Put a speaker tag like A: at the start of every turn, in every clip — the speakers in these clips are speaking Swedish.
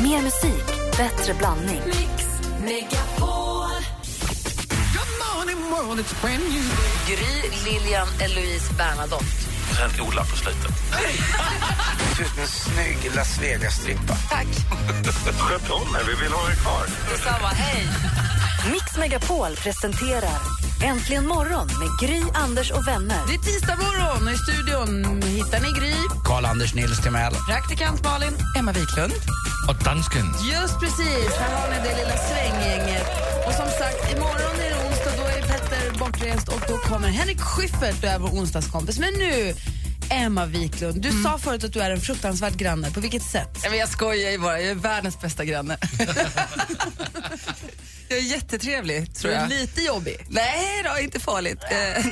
A: Mer musik, bättre blandning.
B: Mix Megapol.
A: Gry, Lilian, Eloise, Bernadotte.
C: Och sen Ola på slutet.
D: Ser ut som en snygg Las Vegas-strippa.
B: Tack
C: Sköt om er, vi vill ha er kvar.
B: detsamma. Hej.
A: Mix Megapol presenterar Äntligen morgon med Gry, Anders och vänner.
B: Det är tisdag morgon och i studion hittar ni Gry,
D: Karl-Anders Nils Timell.
B: praktikant Malin, Emma Wiklund.
E: Och dansken.
B: Just precis, här har ni det lilla svänggänget. Och som sagt, imorgon är det onsdag, då är Petter bortrest och då kommer Henrik Schyffert, du är vår onsdagskompis. Men nu, Emma Wiklund, du sa förut att du är en fruktansvärd granne. På vilket sätt?
F: Nej, Mm. men jag skojar ju bara, jag är världens bästa granne. jag är jättetrevlig,
B: Du
F: tror
B: är
F: jag.
B: lite jobbig.
F: Nej då, inte farligt. Eh, nej.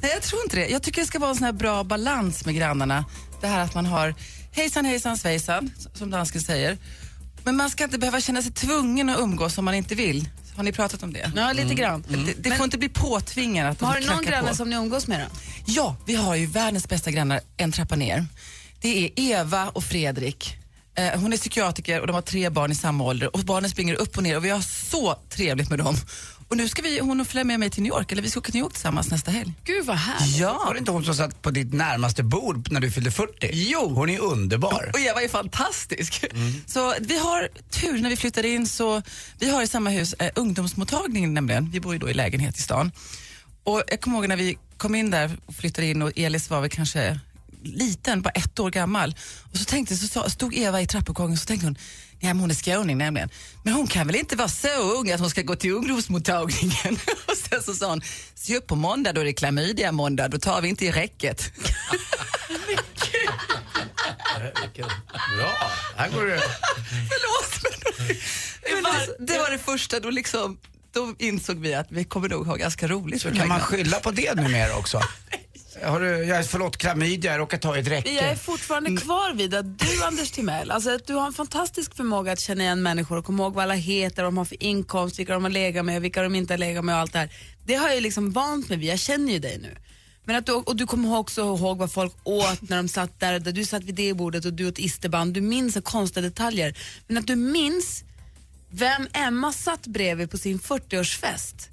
F: nej, jag tror inte det. Jag tycker det ska vara en sån här bra balans med grannarna. Det här att man har hejsan hejsan svejsan, som dansken säger. Men man ska inte behöva känna sig tvungen att umgås om man inte vill. Har ni pratat om det? Mm.
B: Ja, lite grann.
F: Det, det får inte bli påtvingat att
B: Men
F: de
B: Har du någon
F: knackar
B: granne
F: på.
B: som ni umgås med då?
F: Ja, vi har ju världens bästa grannar en trappa ner. Det är Eva och Fredrik. Eh, Hon är psykiatriker och de har tre barn i samma ålder och barnen springer upp och ner och vi har så trevligt med dem. Och nu ska vi, hon följa med mig till New York, eller vi ska åka till New York tillsammans nästa helg.
B: Gud vad härligt.
D: Var det inte hon som satt på ditt närmaste bord när du fyllde 40?
F: Jo.
D: Hon är underbar.
F: Och Eva är fantastisk. Så vi har tur när vi flyttade in så, vi har i samma hus eh, ungdomsmottagningen nämligen, vi bor ju då i lägenhet i stan. Och jag kommer ihåg när vi kom in där och flyttade in och Elis var väl kanske liten, bara ett år gammal. Och så tänkte, så sa- stod Eva i trappuppgången och så tänkte hon, nej men hon är skåning nämligen, men hon kan väl inte vara så ung att hon ska gå till ungdomsmottagningen? och sen så sa hon, se upp på måndag då är det klamydia måndag, då tar vi inte i räcket.
D: Bra. Här går det.
F: Förlåt. Men alltså, det, det var det första, då, liksom, då insåg vi att vi kommer nog ha ganska roligt.
D: Kan man skylla på det numera också? Har du, jag, förlåt, klamydia, jag råkade ta i ett
B: Jag är
D: räcke.
B: fortfarande kvar vid att du, Anders Timell, alltså att du har en fantastisk förmåga att känna igen människor och komma ihåg vad alla heter, vad de har för inkomst, vilka de har legat med, vilka de inte har legat med och allt det här. Det har jag ju liksom vant mig vid, jag känner ju dig nu. Men att du, och du kommer också ihåg vad folk åt när de satt där, där du satt vid det bordet och du åt isterband, du minns så konstiga detaljer. Men att du minns vem Emma satt bredvid på sin 40-årsfest.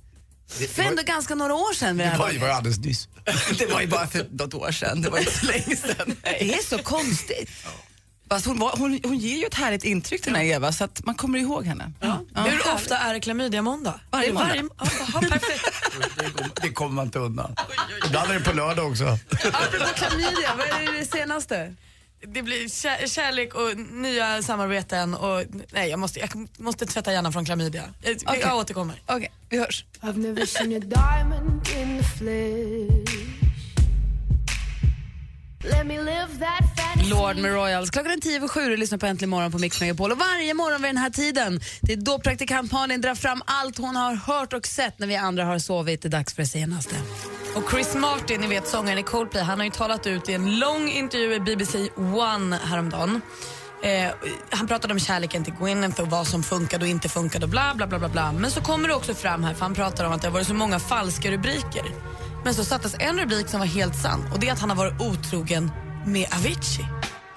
B: För ändå ganska några år sedan vid det här
D: Oj,
B: laget.
D: var det alldeles nyss.
F: det var ju bara för något år sedan, det var inte så länge sedan.
B: Det är så konstigt.
F: Fast hon, var, hon, hon ger ju ett härligt intryck den här Eva, så att man kommer ihåg henne. Ja.
G: Hur ofta är det klamydia-måndag?
F: Varje
G: Det är
F: måndag.
G: ja, aha, perfekt.
D: Det kom- Det kommer man inte undan. Ibland är det på lördag också.
B: Apropå klamydia, vad är det senaste?
G: Det blir kä- kärlek och nya samarbeten. Och, nej, jag, måste, jag måste tvätta hjärnan från klamydia. Jag, jag återkommer.
B: Okej, vi hörs.
H: I've never seen a diamond in the flesh. Let me live that fantasy.
B: Lord med Royals. Klockan är tio över sju och du lyssnar på Äntligen morgon på Mix Megapol. Och varje morgon vid den här tiden, det är då praktikant Malin drar fram allt hon har hört och sett när vi andra har sovit. Det är dags för det senaste.
G: Och Chris Martin, ni vet sångaren i Coldplay, han har ju talat ut i en lång intervju i BBC One häromdagen. Eh, han pratade om kärleken till Gwyneth och vad som funkade och inte funkade och bla bla bla bla bla. Men så kommer det också fram här, för han pratar om att det har varit så många falska rubriker. Men så sattes en rubrik som var helt sann och det är att han har varit otrogen med Avicii.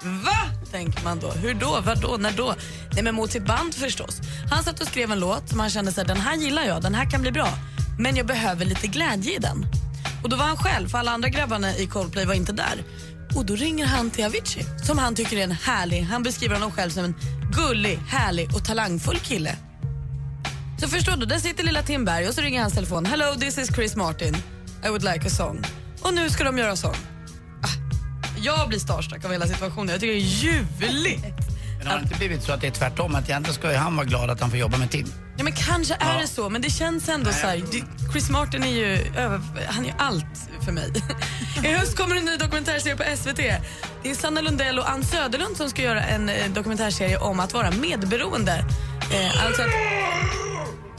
G: Va? Tänker man då. Hur då? Vad då? När då? Nej, men mot sitt band förstås. Han satt och skrev en låt som han kände sig den här gillar jag, den här kan bli bra. Men jag behöver lite glädje i den. Och då var han själv, för alla andra grabbarna i Coldplay var inte där. Och då ringer han till Avicii, som han tycker är en härlig, han beskriver honom själv som en gullig, härlig och talangfull kille. Så förstår du, där sitter lilla Timberg och så ringer hans telefon. Hello, this is Chris Martin. I would like a song. Och nu ska de göra sång. Ah, Jag blir starstruck av hela situationen. Jag tycker det är ljuvligt.
D: Men har det inte blivit så att det är tvärtom? Att egentligen ska ju han vara glad att han får jobba med Tim.
G: Ja, men kanske är det så, men det känns ändå så här. det- Chris Martin är ju, över, han är ju allt för mig. I höst kommer en ny dokumentärserie på SVT. Det är Sanna Lundell och Ann Söderlund som ska göra en eh, dokumentärserie om att vara medberoende. Eh, alltså att,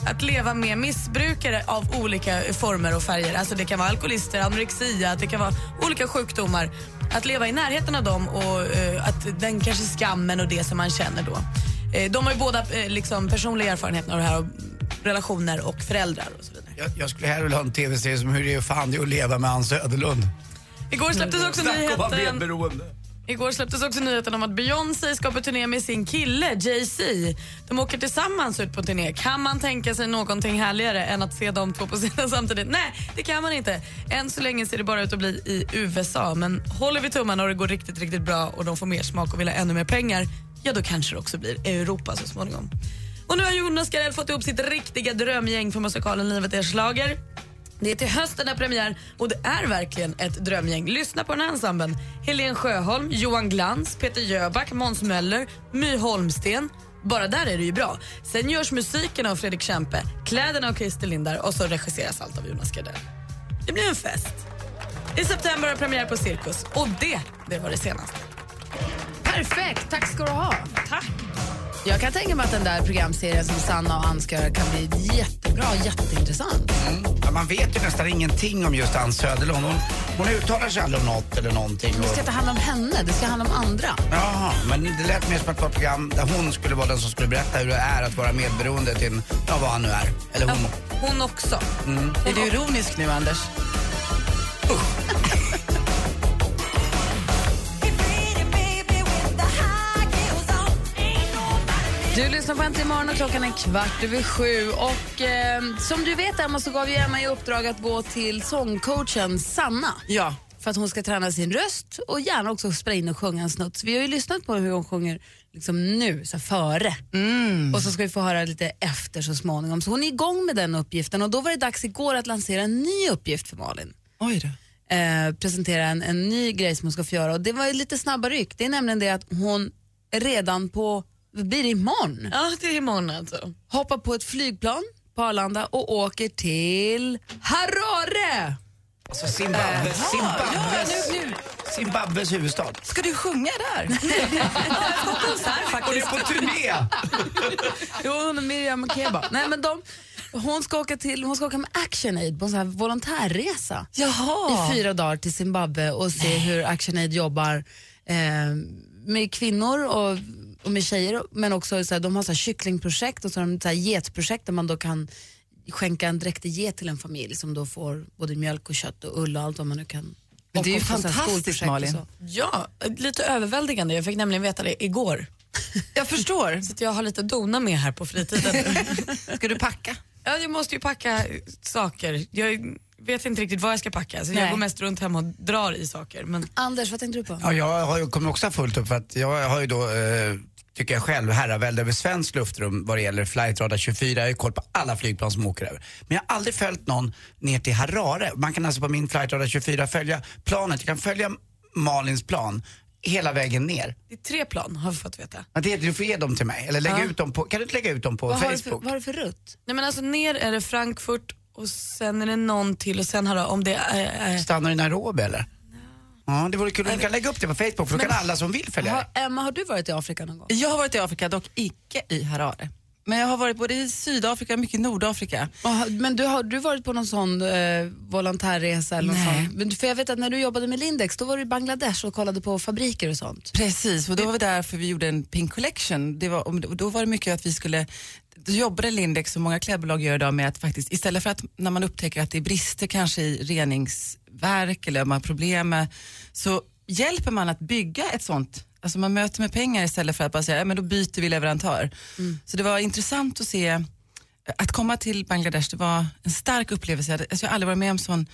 G: att leva med missbrukare av olika former och färger. Alltså det kan vara alkoholister, anorexia, det kan vara olika sjukdomar. Att leva i närheten av dem och eh, att den kanske skammen och det som man känner då. Eh, de har ju båda eh, liksom personliga erfarenheter av det här och relationer och föräldrar och så vidare.
D: Jag, jag skulle hellre vilja ha en tv-serie som hur det är fan det är att leva med Ann Söderlund.
G: Igår släpptes också nyheten...
D: medberoende.
G: Igår släpptes också nyheten om att Beyoncé ska på turné med sin kille Jay-Z. De åker tillsammans ut på turné. Kan man tänka sig någonting härligare än att se de två på scenen samtidigt? Nej, det kan man inte. Än så länge ser det bara ut att bli i USA. Men håller vi tummarna och det går riktigt, riktigt bra och de får mer smak och vill ha ännu mer pengar, ja då kanske det också blir Europa så småningom. Och nu har Jonas Gardell fått ihop sitt riktiga drömgäng för musikalen Livet är schlager. Det är till hösten när premiär och det är verkligen ett drömgäng. Lyssna på den här ensemblen. Helen Sjöholm, Johan Glans, Peter Jöback, Måns Möller, My Holmsten. Bara där är det ju bra. Sen görs musiken av Fredrik Kempe, kläderna av Christer Lindar och så regisseras allt av Jonas Gardell. Det blir en fest. I september har premiär på Cirkus och det, det var det senaste.
E: Perfekt, tack ska du ha.
G: Tack!
E: Jag kan tänka mig att den där programserien som Sanna och Ann ska göra kan bli jättebra och jätteintressant.
D: Ja, man vet ju nästan ingenting om just Ann Söderlund. Hon, hon uttalar sig aldrig om något eller någonting.
E: Det ska
D: Och,
E: inte handla om henne, det ska handla om andra.
D: jaha, men det lät mer som att det var ett program där hon skulle vara den som skulle berätta hur det är att vara medberoende till en, ja, vad han nu är. Eller hon.
G: Hon också.
E: Mm.
F: Är du ironisk nu, Anders?
E: Du lyssnar på Äntligen morgon och klockan är kvart över sju. Och eh, som du vet Emma så gav ju Emma i uppdrag att gå till sångcoachen Sanna.
F: Ja.
E: För att hon ska träna sin röst och gärna också spela in och sjunga en snutt. Så Vi har ju lyssnat på hur hon sjunger liksom nu, så här före. Och så ska vi få höra lite efter så småningom. Så hon är igång med den uppgiften och då var det dags igår att lansera en ny uppgift för Malin
F: Oj då.
E: eh, presentera en, en ny grej som hon ska få göra. Och det var ju lite snabba ryck. Det är nämligen det att hon redan på, vad blir det imorgon?
G: Ja, det är imorgon alltså.
E: Hoppar på ett flygplan på Arlanda och åker till Harare!
D: Alltså
F: Äh.
D: Zimbabwe, Zimbabwes, Zimbabwes huvudstad.
F: Ska du sjunga där?
D: Och du är på turné!
E: Jo, hon och Miriam och Keba. Nej, men de, hon, ska åka till, hon ska åka med ActionAid på en sån här volontärresa i fyra dagar till Zimbabwe och se hur ActionAid jobbar eh, med kvinnor och, och med tjejer. Men också så här, de har så här kycklingprojekt och så har de så här getprojekt där man då kan skänka en dräktig get till en familj som då får både mjölk och kött och ull och allt vad man nu kan.
F: Men det är ju
E: Och också så här
F: fantastiskt,
E: skolprojekt och
F: Malin.
E: så.
G: Ja, lite överväldigande. Jag fick nämligen veta det igår.
F: Jag förstår.
G: Så att jag har lite att dona med här på fritiden.
F: Ska du packa?
G: Ja, jag måste ju packa saker. Jag vet inte riktigt vad jag ska packa så jag
E: Nej.
G: går mest runt hemma och drar i saker. Men
E: Anders, vad tänkte du på?
D: Ja, jag har ju, kommer också ha fullt upp för att jag har ju då, eh, tycker jag själv, herravälde över svenskt luftrum vad det gäller flightradar 24. Jag har ju koll på alla flygplan som åker över. Men jag har aldrig följt någon ner till Harare. Man kan alltså på min flightradar 24 följa planet. Jag kan följa Malins plan hela vägen ner.
G: det är tre plan har vi fått veta.
D: Men det, du får ge dem till mig. Eller lägga ut dem på, kan du inte lägga ut dem på
E: Vad har, du för,
D: Facebook?
E: vad har du för rutt?
G: Nej men alltså ner är det Frankfurt och sen är det någon till och sen har det, om det är... Äh,
D: Stannar i Nairobi eller? Ja, det vore kul om du kan lägga upp det på Facebook för då kan alla som vill följa
E: Har,
D: det.
E: Emma, har du varit i Afrika någon gång?
F: Jag har varit i Afrika, dock icke i Harare. Men jag har varit både i Sydafrika och mycket i Nordafrika.
E: Aha, Men du har du varit på någon sån eh, volontärresa eller något
F: Nej.
E: sånt? Men, för jag vet att när du jobbade med Lindex då var du i Bangladesh och kollade på fabriker och sånt.
F: Precis, och då var vi där för vi gjorde en pink collection. Det var, och då var det mycket att vi skulle, då jobbade Lindex som många klädbolag gör idag med att faktiskt istället för att när man upptäcker att det är brister kanske i reningsverk eller om man har problem med, så hjälper man att bygga ett sånt Alltså man möter med pengar istället för att bara säga, "Ja, men då byter vi leverantör. Så det var intressant att se, att komma till Bangladesh det var en stark upplevelse. Jag hade- Alltså jag har aldrig varit med om sån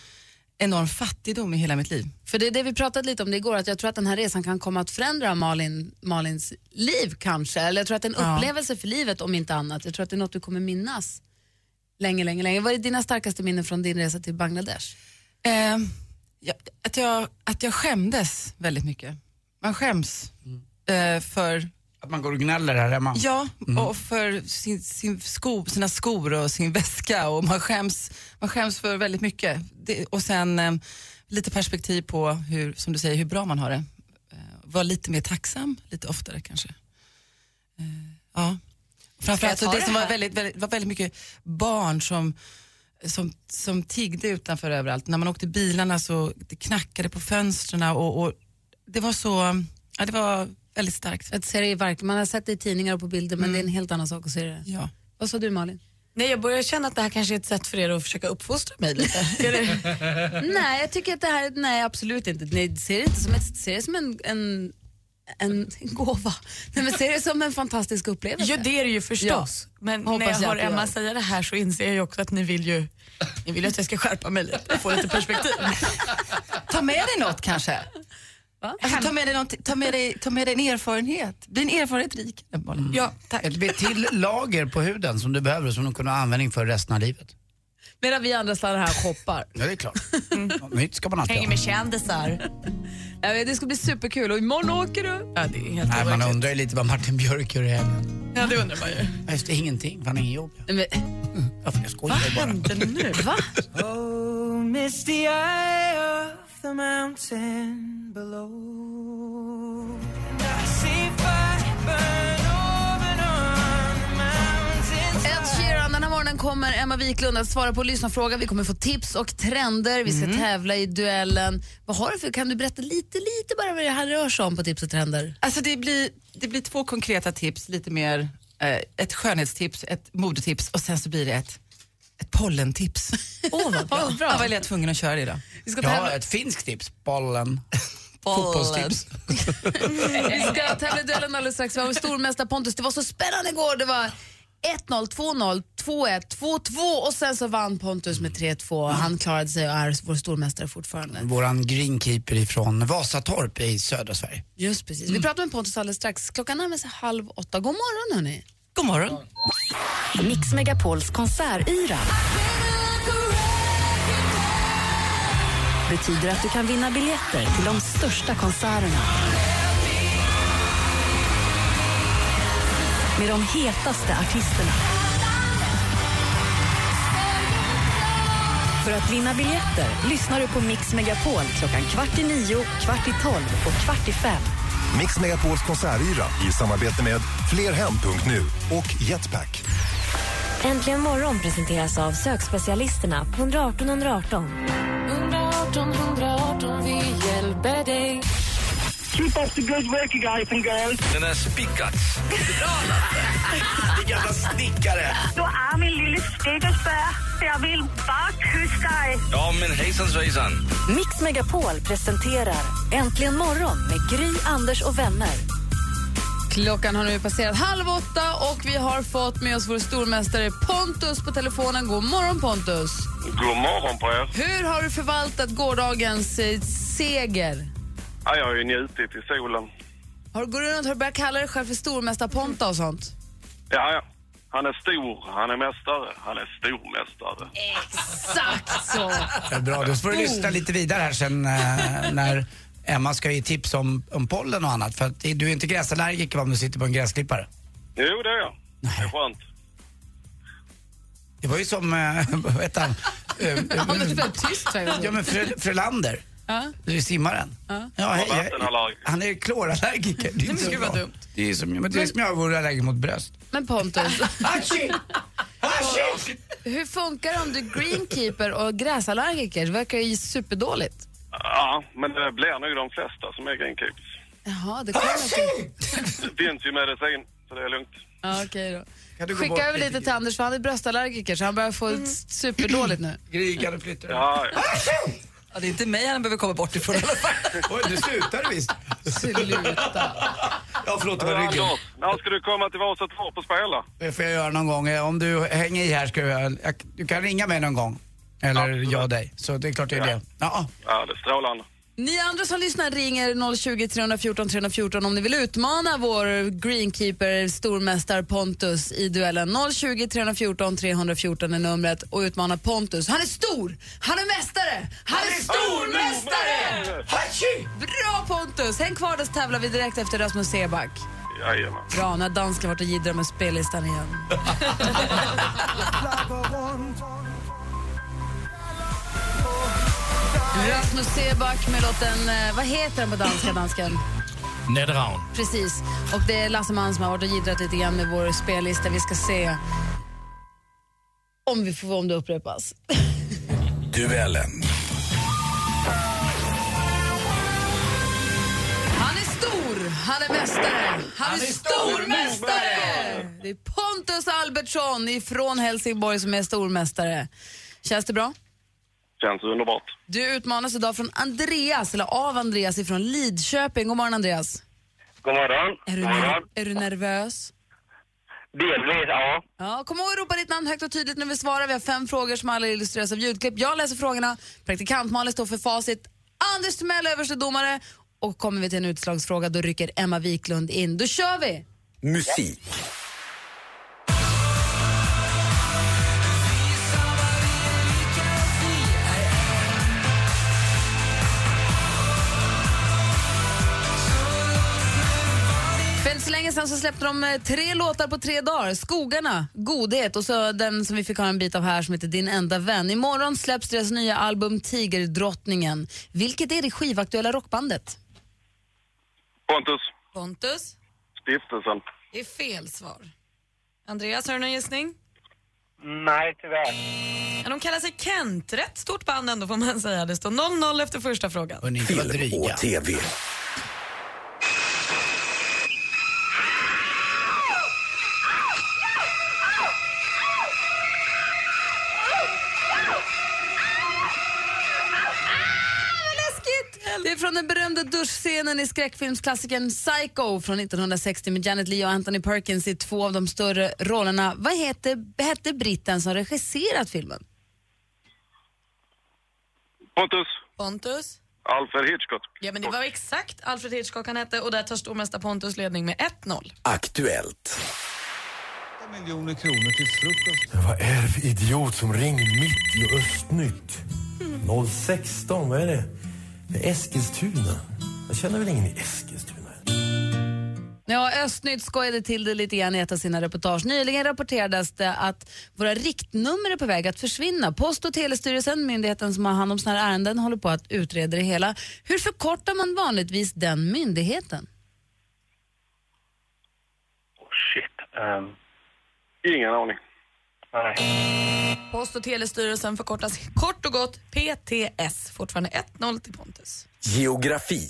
F: enorm fattigdom i hela mitt liv.
E: För det är det vi pratade lite om det igår, att jag tror att den här resan kan komma att förändra Malin, Malins liv kanske. Eller jag tror att det är en
F: Ja.
E: upplevelse för livet om inte annat. Jag tror att det är något du kommer minnas länge, länge, länge. Vad är dina starkaste minnen från din resa till Bangladesh?
F: Eh, ja, att, jag, att jag skämdes väldigt mycket. Man skäms eh, för,
D: Att man går och gnäller här hemma.
F: ja,
E: Mm.
F: och för sin, sin sko, sina skor och sin väska och man skäms, man skäms för väldigt mycket. Det, och sen eh, lite perspektiv på hur, som du säger, hur bra man har det. Eh, var lite mer tacksam lite oftare kanske. Eh, ja. Framförallt
E: Ska jag
F: så
E: ta
F: det
E: det
F: som var
E: här?
F: väldigt, väldigt, var väldigt mycket barn som som, som tiggde utanför överallt. När man åkte bilarna så det knackade på fönstren och, och det var så, ja det var väldigt starkt.
E: Att se det i verkligen, man har sett det i tidningar och på bilder men det är en helt annan sak att se det.
F: Ja.
E: Vad sa du Malin?
I: Mm. Nej, jag börjar känna att det här kanske är ett sätt för er att försöka uppfostra mig lite. Eller-
G: Nej, jag tycker att det här, nej absolut inte. Nej, ser det inte som ett, ser det som en, en, en gåva. Nej, men ser det som en fantastisk upplevelse.
I: Jo, det är det ju förstås. Men
G: Hoppas
I: när jag
G: jag
I: hör
G: att du gör.
I: Emma säga det här så inser jag ju också att ni vill ju ni vill ju att jag ska skärpa mig lite och få lite perspektiv.
F: Ta med dig något kanske. Alltså, ta, med dig något, ta, med dig, ta med dig en erfarenhet. Bli en erfarenhet rik. Mm. Ja, tack.
D: Ett blir till lager på huden som du behöver och som du kunde ha användning för resten av livet.
G: Medan vi andra stannar här och shoppar.
D: Ja, det är klart. Något Nytt ska man alltid ha.
I: Mm. Hänger med kändisar.
G: Jag vet, Det ska bli superkul och imorgon åker du.
I: Ja, det är helt
D: Nej, man undrar ju lite vad Martin Björk gör i helgen.
I: Ja, det undrar man ju.
D: Ja, Just det, ingenting. Fan, ingen jobb.
G: Nej, men,
D: Ja, för jag skojar ju bara.
I: Hände nu?
G: va? Ed Sheeran, den här morgonen kommer Emma Wiklund att svara på lyssnarfrågan. Vi kommer få tips och trender. Vi ska tävla i duellen. Vad har du för, kan du berätta lite, lite bara vad det här rör sig om på tips och trender?
F: Alltså det blir, det blir två konkreta tips, lite mer eh, ett skönhetstips, ett modetips och sen så blir det ett, ett pollentips.
G: Åh, vad bra.
F: Ja, Jag var jag tvungen att köra det idag.
G: Vi ska
D: Jag
G: tävla
D: har ett finskt tips. Bollen. Fotbollstips.
G: Vi ska tävla i duellen alldeles strax. Vi har vår stormästare Pontus. Det var så spännande igår. Det var 1-0, 2-0, 2-1, 2-2 och sen så vann Pontus med 3-2. Han klarade sig och är vår stormästare fortfarande.
D: Våran greenkeeper ifrån Vasatorp i södra Sverige.
G: Just precis. Vi pratar med Pontus alldeles strax. Klockan närmar sig halv åtta. God morgon hörni.
F: God morgon.
A: Mix Megapols konsertyra. Betyder att du kan vinna biljetter till de största konserterna. Med de hetaste artisterna. För att vinna biljetter lyssnar du på Mix Megapol klockan kvart i nio, kvart i tolv och kvart i fem.
J: Mix Megapols konsertyra i samarbete med flerhem.nu och Jetpack.
K: Äntligen morgon presenteras av sökspecialisterna på 118 118.
C: Den har spickats.
D: Jävla snickare!
L: Du er min lille stikkespær. Jeg vil bare kysse dig.
C: Ja, men hejsan svejsan.
A: Mix Megapol presenterar Äntligen morgon med Gry, Anders och vänner.
G: Klockan har nu passerat halv åtta och vi har fått med oss vår stormästare Pontus på telefonen. God morgon Pontus.
C: God morgon på er.
G: Hur har du förvaltat gårdagens eh, seger?
C: Ja, jag har ju njutit i solen.
G: Har, går du runt och börjat kalla dig själv för stormästarponta och sånt?
C: Ja, ja. Han är stor, han är mästare, han är stormästare.
G: Exakt så!
D: Ja, bra, då
I: Oh.
D: får du lyssna lite vidare här sen eh, när Emma ska ge tips om, om pollen och annat. För att det- du är inte gräsallergiker va, om du sitter på en gräsklippare?
C: Jo, det är jag. Det är skönt.
D: Det var ju som, eh, vad hette han? Eh, eh,
G: Han blev väldigt tyst. tror jag.
D: Ja men Frö, Frölander.
G: Ja.
D: Du är simmaren. Ja. hej,
C: Och
D: jag-
C: vattenallergiker.
D: han är klorallergiker. Det är inte så
I: gud, vad
D: bra.
I: dumt.
D: Det är som, men det är som jag vore allergisk mot bröst. Ah,
G: Men Pontus,
D: Hachi! Hachi!
G: hur funkar det om du är greenkeeper och gräsallergiker? Det verkar ju superdåligt.
C: Ja, men det blir nog de flesta som är greenkeepers.
G: Jaha, det kommer inte.
C: Det finns ju medicin, så det är lugnt.
G: Ja, okej då.
D: Kan du gå bort
G: Skicka över
D: lite,
G: lite till
D: Gry?
G: Anders för han är bröstallergiker så han börjar få ett superdåligt nu.
D: Gry, kan du flytta dig?
C: Ja, ja.
D: Ah,
F: Ja, det är inte mig han behöver komma bort ifrån.
D: Oj, nu slutar du visst.
G: Sluta.
D: Ja, förlåt, det var ryggen.
C: Anders, när ska du komma till Vasatorp och spela?
D: Det får jag göra någon gång. Eh, Om du hänger i här ska jag, jag, du kan ringa mig någon gång. Eller
C: Absolut.
D: jag dig. Så det är klart det är det. Ja.
C: Ja, det är strålande.
G: Ni andra som lyssnar ringer 020 314 314 om ni vill utmana vår greenkeeper, stormästare Pontus i duellen. 020 314 314 är numret och utmana Pontus. Han är stor! Han är mästare! Han är stormästare!
D: Hachi!
G: Bra Pontus! Häng kvar där så tävlar vi direkt efter Rasmus Seback.
C: Jajamän.
G: Bra, när dansken har varit och jiddrat med spellistan igen. Rasmus Seback med låten, eh, vad heter den på danska, dansken?
M: Nedraun.
G: Precis. Och det är Lasse Mann som har varit och jiddrat lite grann med vår spellista. Vi ska se om vi får om det upprepas.
J: Duellen.
G: Han är stor, han är mästare, han är stormästare! Det Det är Pontus Albertsson ifrån Helsingborg som är stormästare. Känns det bra?
C: Känns underbart.
G: Du utmanas idag från Andreas, eller av Andreas ifrån Lidköping. God morgon Andreas.
N: God morgon.
G: Är du,
N: God morgon.
G: är du nervös?
N: Delvis, ja.
G: Ja, kom ihåg att ropa ditt namn högt och tydligt när vi svarar. Vi har fem frågor som alla illustreras av ljudklipp. Jag läser frågorna, praktikant-Malin står för facit, Anders Timell överste domare och kommer vi till en utslagsfråga då rycker Emma Wiklund in. Då kör vi!
O: Musik.
G: För inte så länge sedan så släppte de eh, tre låtar på tre dagar. Skogarna, Godhet och så den som vi fick ha en bit av här som heter Din enda vän. Imorgon släpps deras nya album Tigerdrottningen. Vilket är det skivaktuella rockbandet?
C: Pontus,
A: Pontus,
C: stiftelsen.
A: det är fel svar. Andreas, har du någon gissning?
N: Nej, tyvärr.
A: Ja, de kallar sig Kent. Rätt stort band ändå får man säga. Det står 0-0 efter första frågan.
O: Film och TV.
G: Det är från den berömda duschscenen i skräckfilmsklassikern Psycho från 1960 med Janet Leigh och Anthony Perkins i två av de större rollerna. Vad heter, hette britten som regisserat filmen?
C: Pontus,
A: Pontus?
C: Alfred Hitchcock.
A: Ja, men det var exakt Alfred Hitchcock han hette och där tar stormästare Pontus ledning med 1-0.
O: Aktuellt.
J: miljoner kronor till frukost.
P: Vad är det för idiot som ringer mitt i Östnytt? 016, vad är det? Det är Eskilstuna. Jag känner väl ingen i Eskilstuna?
G: Ja, Östnytt skojade till det lite grann i ett av sina reportage. Nyligen rapporterades det att våra riktnummer är på väg att försvinna. Post och telestyrelsen, myndigheten som har hand om sådana här ärenden, håller på att utreda det hela. Hur förkortar man vanligtvis den myndigheten?
N: Oh, Shit. ehm,
C: Ingen aning.
N: nej.
A: Post och telestyrelsen förkortas kort och gott PTS. Fortfarande 1-0 till Pontus.
O: Geografi.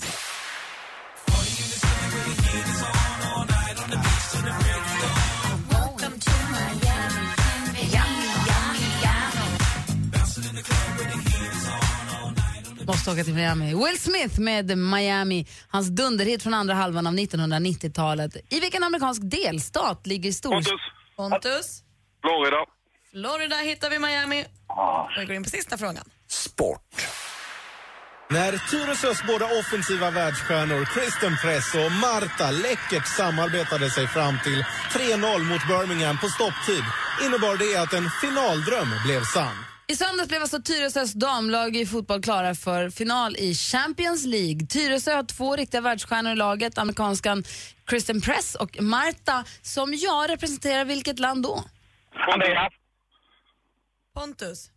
G: Måste åka till Miami. Will Smith med Miami, hans dunderhit från andra halvan av 1990-talet. I vilken amerikansk delstat ligger stor...
C: Pontus.
A: Pontus.
C: Florida.
A: Florida hittar vi Miami. Och vi går in på sista frågan.
J: När Tyresös båda offensiva världsstjärnor Kristen Press och Marta läckert samarbetade sig fram till 3-0 mot Birmingham på stopptid innebar det att en finaldröm blev sann.
G: I söndags blev alltså Tyresös damlag i fotboll klara för final i Champions League. Tyresö har två riktiga världsstjärnor i laget, amerikanskan Kristen Press och Marta, som jag representerar vilket land då?
N: Andreas.
A: Pontus.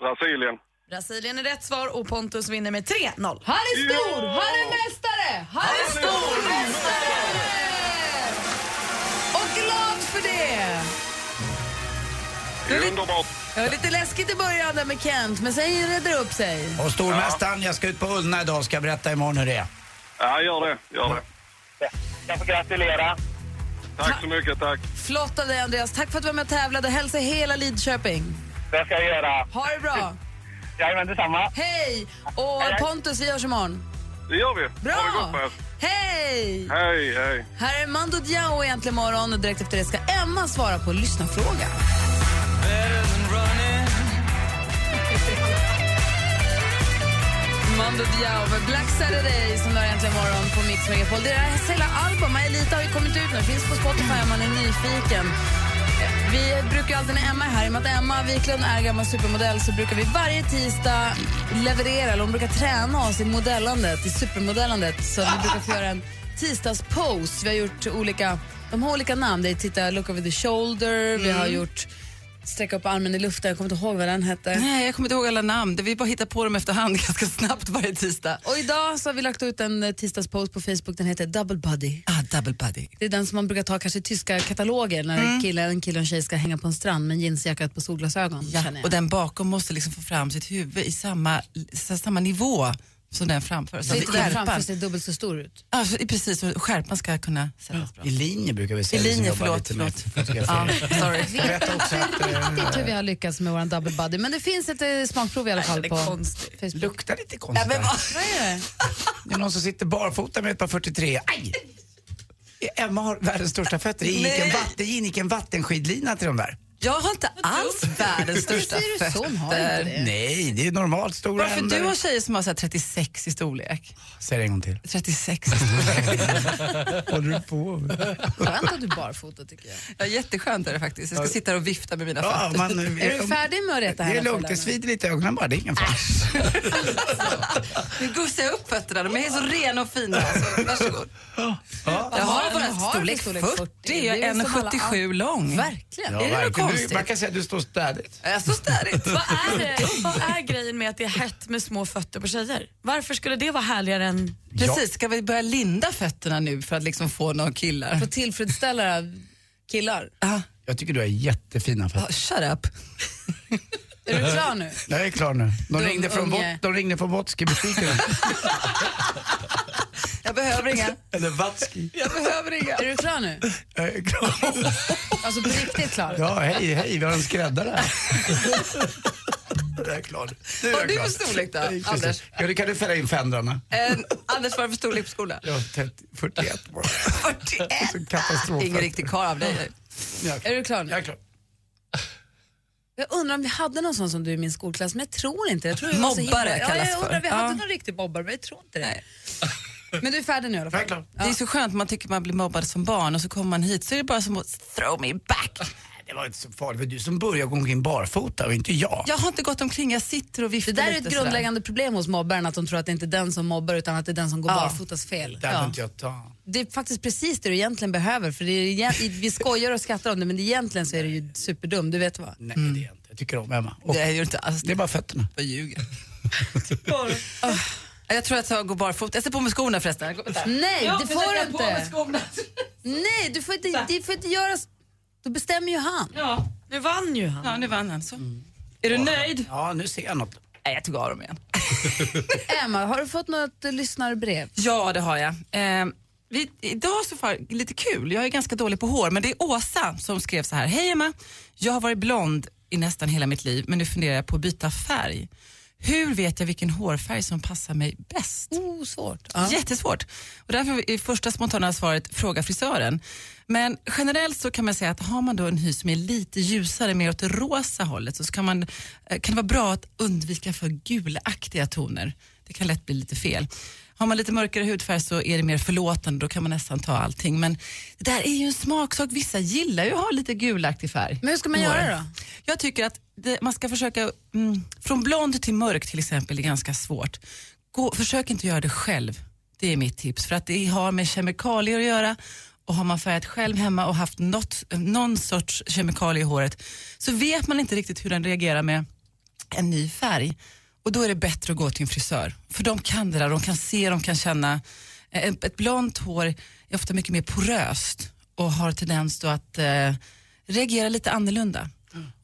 C: Brasilien.
A: Brasilien är rätt svar och Pontus vinner med 3-0.
G: Han är stor! Han är mästare! Han är stormästare! Och glad för det!
C: Det är underbart.
G: Det var lite läskigt i början där med Kent, men sen redde det upp sig.
D: Och stormästaren, jag ska ut på Ullna idag och ska berätta imorgon hur det är.
C: Ja, gör det. Gör det.
N: Jag får gratulera.
C: Tack så mycket, tack.
G: Flott av dig Andreas, tack för att du var med och tävlade. Hälsa hela Lidköping.
N: Det ska jag göra.
G: Ha det bra.
N: Jajamän, detsamma.
G: Hej! Och
N: Hej, hej.
G: Pontus, vi hörs imorgon.
C: Det gör vi.
G: Bra!
C: Ha det gott med er.
G: Hej!
C: Hej, hej.
G: Här är Mando Diao egentligen imorgon och direkt efter det ska Emma svara på lyssnarfrågan. Mando Diao med Black Saturday som du har äntligen imorgon på Mix Megapol. Deras hela album, Elita, har ju kommit ut nu. Finns på Spotify om man är nyfiken. Eh, Vi brukar ju alltid när Emma är här, i och med att Emma Wiklund är gammal supermodell så brukar vi varje tisdag leverera, eller hon brukar träna oss i modellandet, i supermodellandet. Så vi brukar få göra en tisdagspose. Vi har gjort olika, de har olika namn. Det är titta, look over the shoulder, vi har gjort sträcka upp armen i luften, jag kommer inte ihåg vad den hette.
F: Nej, jag kommer inte ihåg alla namn. Det- Vi bara hittar på dem efterhand ganska snabbt varje tisdag.
G: Och idag så har vi lagt ut en eh, tisdagspost på Facebook, den heter Double Buddy.
F: Ah, double buddy.
G: Det är den som man brukar ta kanske i tyska kataloger när
D: Mm.
G: killen, en kille och en tjej ska hänga på en strand med jeansjacka och ett par solglasögon.
F: Ja,
G: känner jag.
F: och den bakom måste liksom få fram sitt huvud i samma, samma nivå som den framför.
G: Så
F: att
G: inte den framför
F: skärpan-
G: ser dubbelt så stor ut.
F: Ja, så- precis, så skärpan ska kunna sättas bra.
D: I linje brukar vi
F: I
D: säga.
F: linje, förlåt,
D: Ja,
F: sorry.
G: Jag vet inte riktigt hur vi har lyckats med vår double buddy, men det finns ett eh, smakprov i alla fall på Facebook.
D: eh, Luktar lite konstigt.
G: men
D: vad-
G: vad är det?
D: Det är någon som sitter barfota med ett par 43. Aj! Emma har världens största fötter. Det gick, en
F: Nej.
D: vatten, det gick en vattenskidlina till de där.
F: Jag har inte alls världens största
G: Varför säger du så? Hon har
F: fötter.
G: inte det.
D: Nej, det är normalt stora
F: Varför du har tjejer som har så här 36 i storlek?
D: Säg det en gång till.
F: 36 i storlek.
D: Håller du på med?
G: Skönt att du barfota tycker jag.
F: Ja, jätteskönt är det faktiskt. Jag ska sitta här och vifta med mina
D: Ja,
F: fötter.
D: man,
G: Är du färdig med att reta här?
D: Det är lugnt, det
G: Lasse?
D: svider lite i ögonen bara. Det är ingen fara.
F: Nu gufsar jag upp fötterna. De är så rena och fina. Alltså. Varsågod. Jag har bara en storlek 40. Jag är
G: Det är som alla
F: 1,77 lång.
G: Verkligen.
D: Ja,
F: är det något
D: verkligen. Du-
F: konstigt?
D: Man kan säga att du står städigt.
F: Jag är så städigt.
G: Vad är, det, vad är grejen med att det är hett med små fötter på tjejer? Varför skulle det vara härligare än...
F: Precis, ska vi börja linda fötterna nu för att liksom få några killar?
G: För att tillfredsställa killar.
F: Ah,
D: Jag tycker du har jättefina fötter.
F: shut up.
G: Är du klar nu?
D: Jag är klar nu. De
G: Dum
D: ringde från,
G: unge.
D: Vot- de ringde från Wotski-butiken.
F: Jag behöver inga.
D: Eller Vatski.
F: Jag behöver inga.
G: Är du klar nu?
D: Jag är klar.
G: Alltså på riktigt klar?
D: Ja, hej, hej, vi har en skräddare här. Jag är klar. Nu är
F: Har
D: jag
F: du
D: klar.
F: för storlek då,
D: Jag är klar.
F: Anders?
D: Ja, du kan du fälla in fändrarna.
F: Eh, Anders, vad är det för storlek på skolan?
D: Jag har 30 41 bara.
F: 41.
D: Så katastrof.
F: Ingen riktig karl av dig.
D: Jag är klar.
G: Är du klar nu?
D: Jag är klar.
G: Jag undrar om vi hade någon sån som du i min skolklass, men jag tror inte det. jag tror vi var så
F: Mobbare
G: himla-
F: kallas
G: ja, jag
F: för.
G: undrar om vi hade
F: Ja.
G: någon riktig mobbare, men jag tror inte det.
F: Nej.
G: Men du är färdig nu i alla
D: Jag är
G: fall.
D: klar.
F: Det är så skönt, man tycker man blir mobbad som barn och så kommer man hit så är det bara som att throw me back.
D: Det var inte så farligt. Det var du som började gå omkring barfota och inte jag.
F: Jag har inte gått omkring, jag sitter och
G: Det
F: viftar
G: där är ett
F: lite
G: grundläggande problem hos mobbaren, att de tror att det inte är den som mobbar utan att det är den som går
F: Ja.
G: barfotas fel.
D: Där
G: Ja.
D: vill inte jag ta.
G: Det är faktiskt precis det du egentligen behöver, för det är, egent- vi skojar och skrattar om det men egentligen så är det ju superdum, du vet vad.
D: Nej, det är jag inte. Jag tycker om Emma. Och
F: Sådär. Mm. Det är ju inte alls
D: det är bara fötterna.
F: jag ljuger. Åh, Jag tror att jag går barfota. Jag sätter på mig skorna förresten. Gå- vänta.
G: Nej,
F: Ja,
G: det
F: jag
G: får du
F: sätter på mig
G: inte!
F: skorna.
G: Nej, du får inte, det får inte göras... Då bestämmer ju han.
F: Ja,
E: Nu vann ju han.
F: ja, nu vann han. Så. Är du nöjd?
D: Ja, nu ser jag något.
F: Nej, jag tog av dem igen.
G: Emma, har du fått något eh, lyssnarbrev?
F: Ja, det har jag. Eh, vi, idag så far, lite kul, jag är ganska dålig på hår, men det är Åsa som skrev så här. Hej Emma, jag har varit blond i nästan hela mitt liv, men nu funderar jag på att byta färg. Hur vet jag vilken hårfärg som passar mig bäst?
G: Oh, svårt. Ja.
F: Jättesvårt. Och därför är första spontana svaret fråga frisören. Men generellt så kan man säga att har man då en hy som är lite ljusare, mer åt det rosa hållet, så ska man, eh, kan det vara bra att undvika för gulaktiga toner. Det kan lätt bli lite fel. Har man lite mörkare hudfärg så är det mer förlåtande, då kan man nästan ta allting. Men det där är ju en smaksak, vissa gillar ju att ha lite gulaktig färg.
G: Men hur ska man
F: på
G: göra
F: håret.
G: då?
F: Jag tycker att det, man ska försöka, mm, från blond till mörk till exempel är ganska svårt. Gå, försök inte göra det själv, det är mitt tips. För att det har med kemikalier att göra och har man färgat själv hemma och haft något, någon sorts kemikalie i håret så vet man inte riktigt hur den reagerar med en ny färg. Och då är det bättre att gå till en frisör. För de kan det där, de kan se, de kan känna. Eh, Ett ett blont hår är ofta mycket mer poröst och har tendens då att eh, reagera lite annorlunda.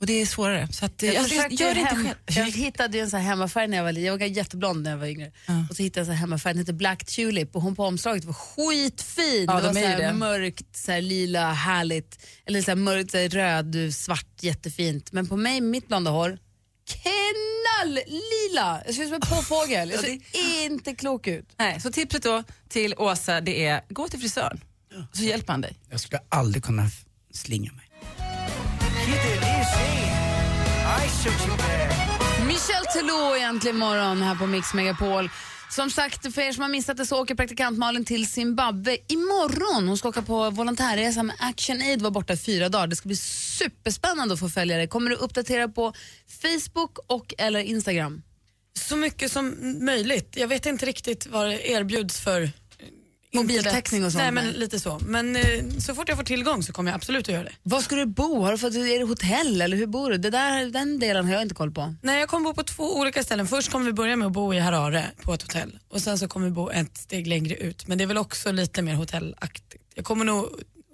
F: Och det är svårare. Så att, eh,
G: Jag,
F: jag, jag,
G: försökte
F: gör det inte
G: hem, jag
F: själv.
G: hittade ju en sån här hemmafärg när jag var liten. Jag var jätteblond när jag var yngre. Och så hittade jag en sån här hemmafärg, den hette Black Tulip och hon på omslaget var skitfin.
F: Ja,
G: det var
F: de är
G: så
F: ju
G: här
F: det.
G: mörkt, så här lila, härligt. Eller så här mörkt, så här röd, svart, jättefint. Men på mig, mitt blonda hår, knalllila. Jag ser ut som en påfågel. Jag
F: Ja,
G: ser inte klok ut.
F: Nej, så tipset då till Åsa det är gå till frisören. Så hjälper han dig.
D: Jag skulle aldrig kunna f- slinga mig.
G: Michel Telot egentligen morgon här på Mix Megapol. Som sagt, för er som har missat det så åker praktikant Malin till Zimbabwe imorgon. Hon ska åka på volontärresa med Action Aid, var borta i fyra dagar. Det ska bli superspännande att få följa det. Kommer du uppdatera på Facebook och eller Instagram?
E: Så mycket som möjligt. Jag vet inte riktigt vad det erbjuds för eh,
G: Mobiltäckning och
E: internet.
G: sånt,
E: Nej, men
G: nej.
E: lite så. Men eh, så fort jag får tillgång så kommer jag absolut att göra det.
G: Var ska du bo? Har du fått, är det hotell eller hur bor du? Det där, den delen har jag inte koll på.
E: Nej, jag kommer bo på två olika ställen. Först kommer vi börja med att bo i Harare på ett hotell och sen så kommer vi bo ett steg längre ut. Men det är väl också lite mer hotellaktigt. Jag kommer nog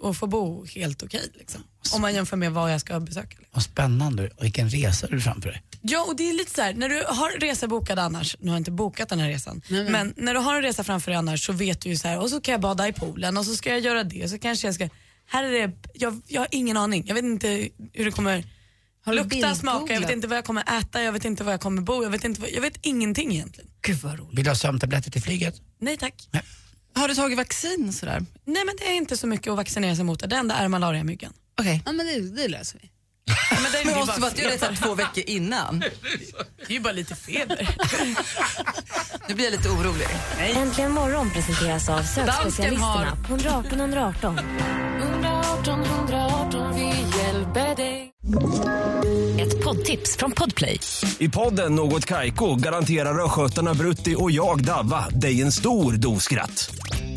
E: att få bo helt okej liksom. Om man jämför med vad jag ska besöka.
D: Vad spännande och vilken resa du har framför dig.
C: Ja, och det är lite så här, när du har resor bokade annars, nu har jag inte bokat den här resan,
Q: nej.
C: men när du har en resa framför dig annars så vet du ju så här, och så kan jag bada i poolen och så ska jag göra det och så kanske jag ska, här är det, jag, jag har ingen aning, jag vet inte hur det kommer
Q: Har du
C: lukta, smaka, jag vet
Q: bildgooglat?
C: inte vad jag kommer äta, jag vet inte var jag kommer bo, jag vet, inte, vad- jag vet ingenting egentligen.
Q: Gud vad roligt.
D: Vill du ha sömntabletter till flyget?
C: Nej tack.
F: Har du tagit vaccin och sådär?
C: Nej men det är inte så mycket att vaccinera sig mot, det enda är malariamyggan.
F: Okej.
Q: Ja, men det, det löser vi.
C: Men det
F: Men måste vara att du är redan två veckor innan.
C: Det är ju bara lite feber.
F: Nu blir jag lite orolig.
K: Äntligen morgon presenteras av
Q: har-
K: sökspecialisterna på 118 118.
G: 118 118, vi hjälper dig. Ett poddtips från Podplay.
J: I podden Något Kaiko garanterar östgötarna Brutti och jag, Davva, dig en stor dos skratt.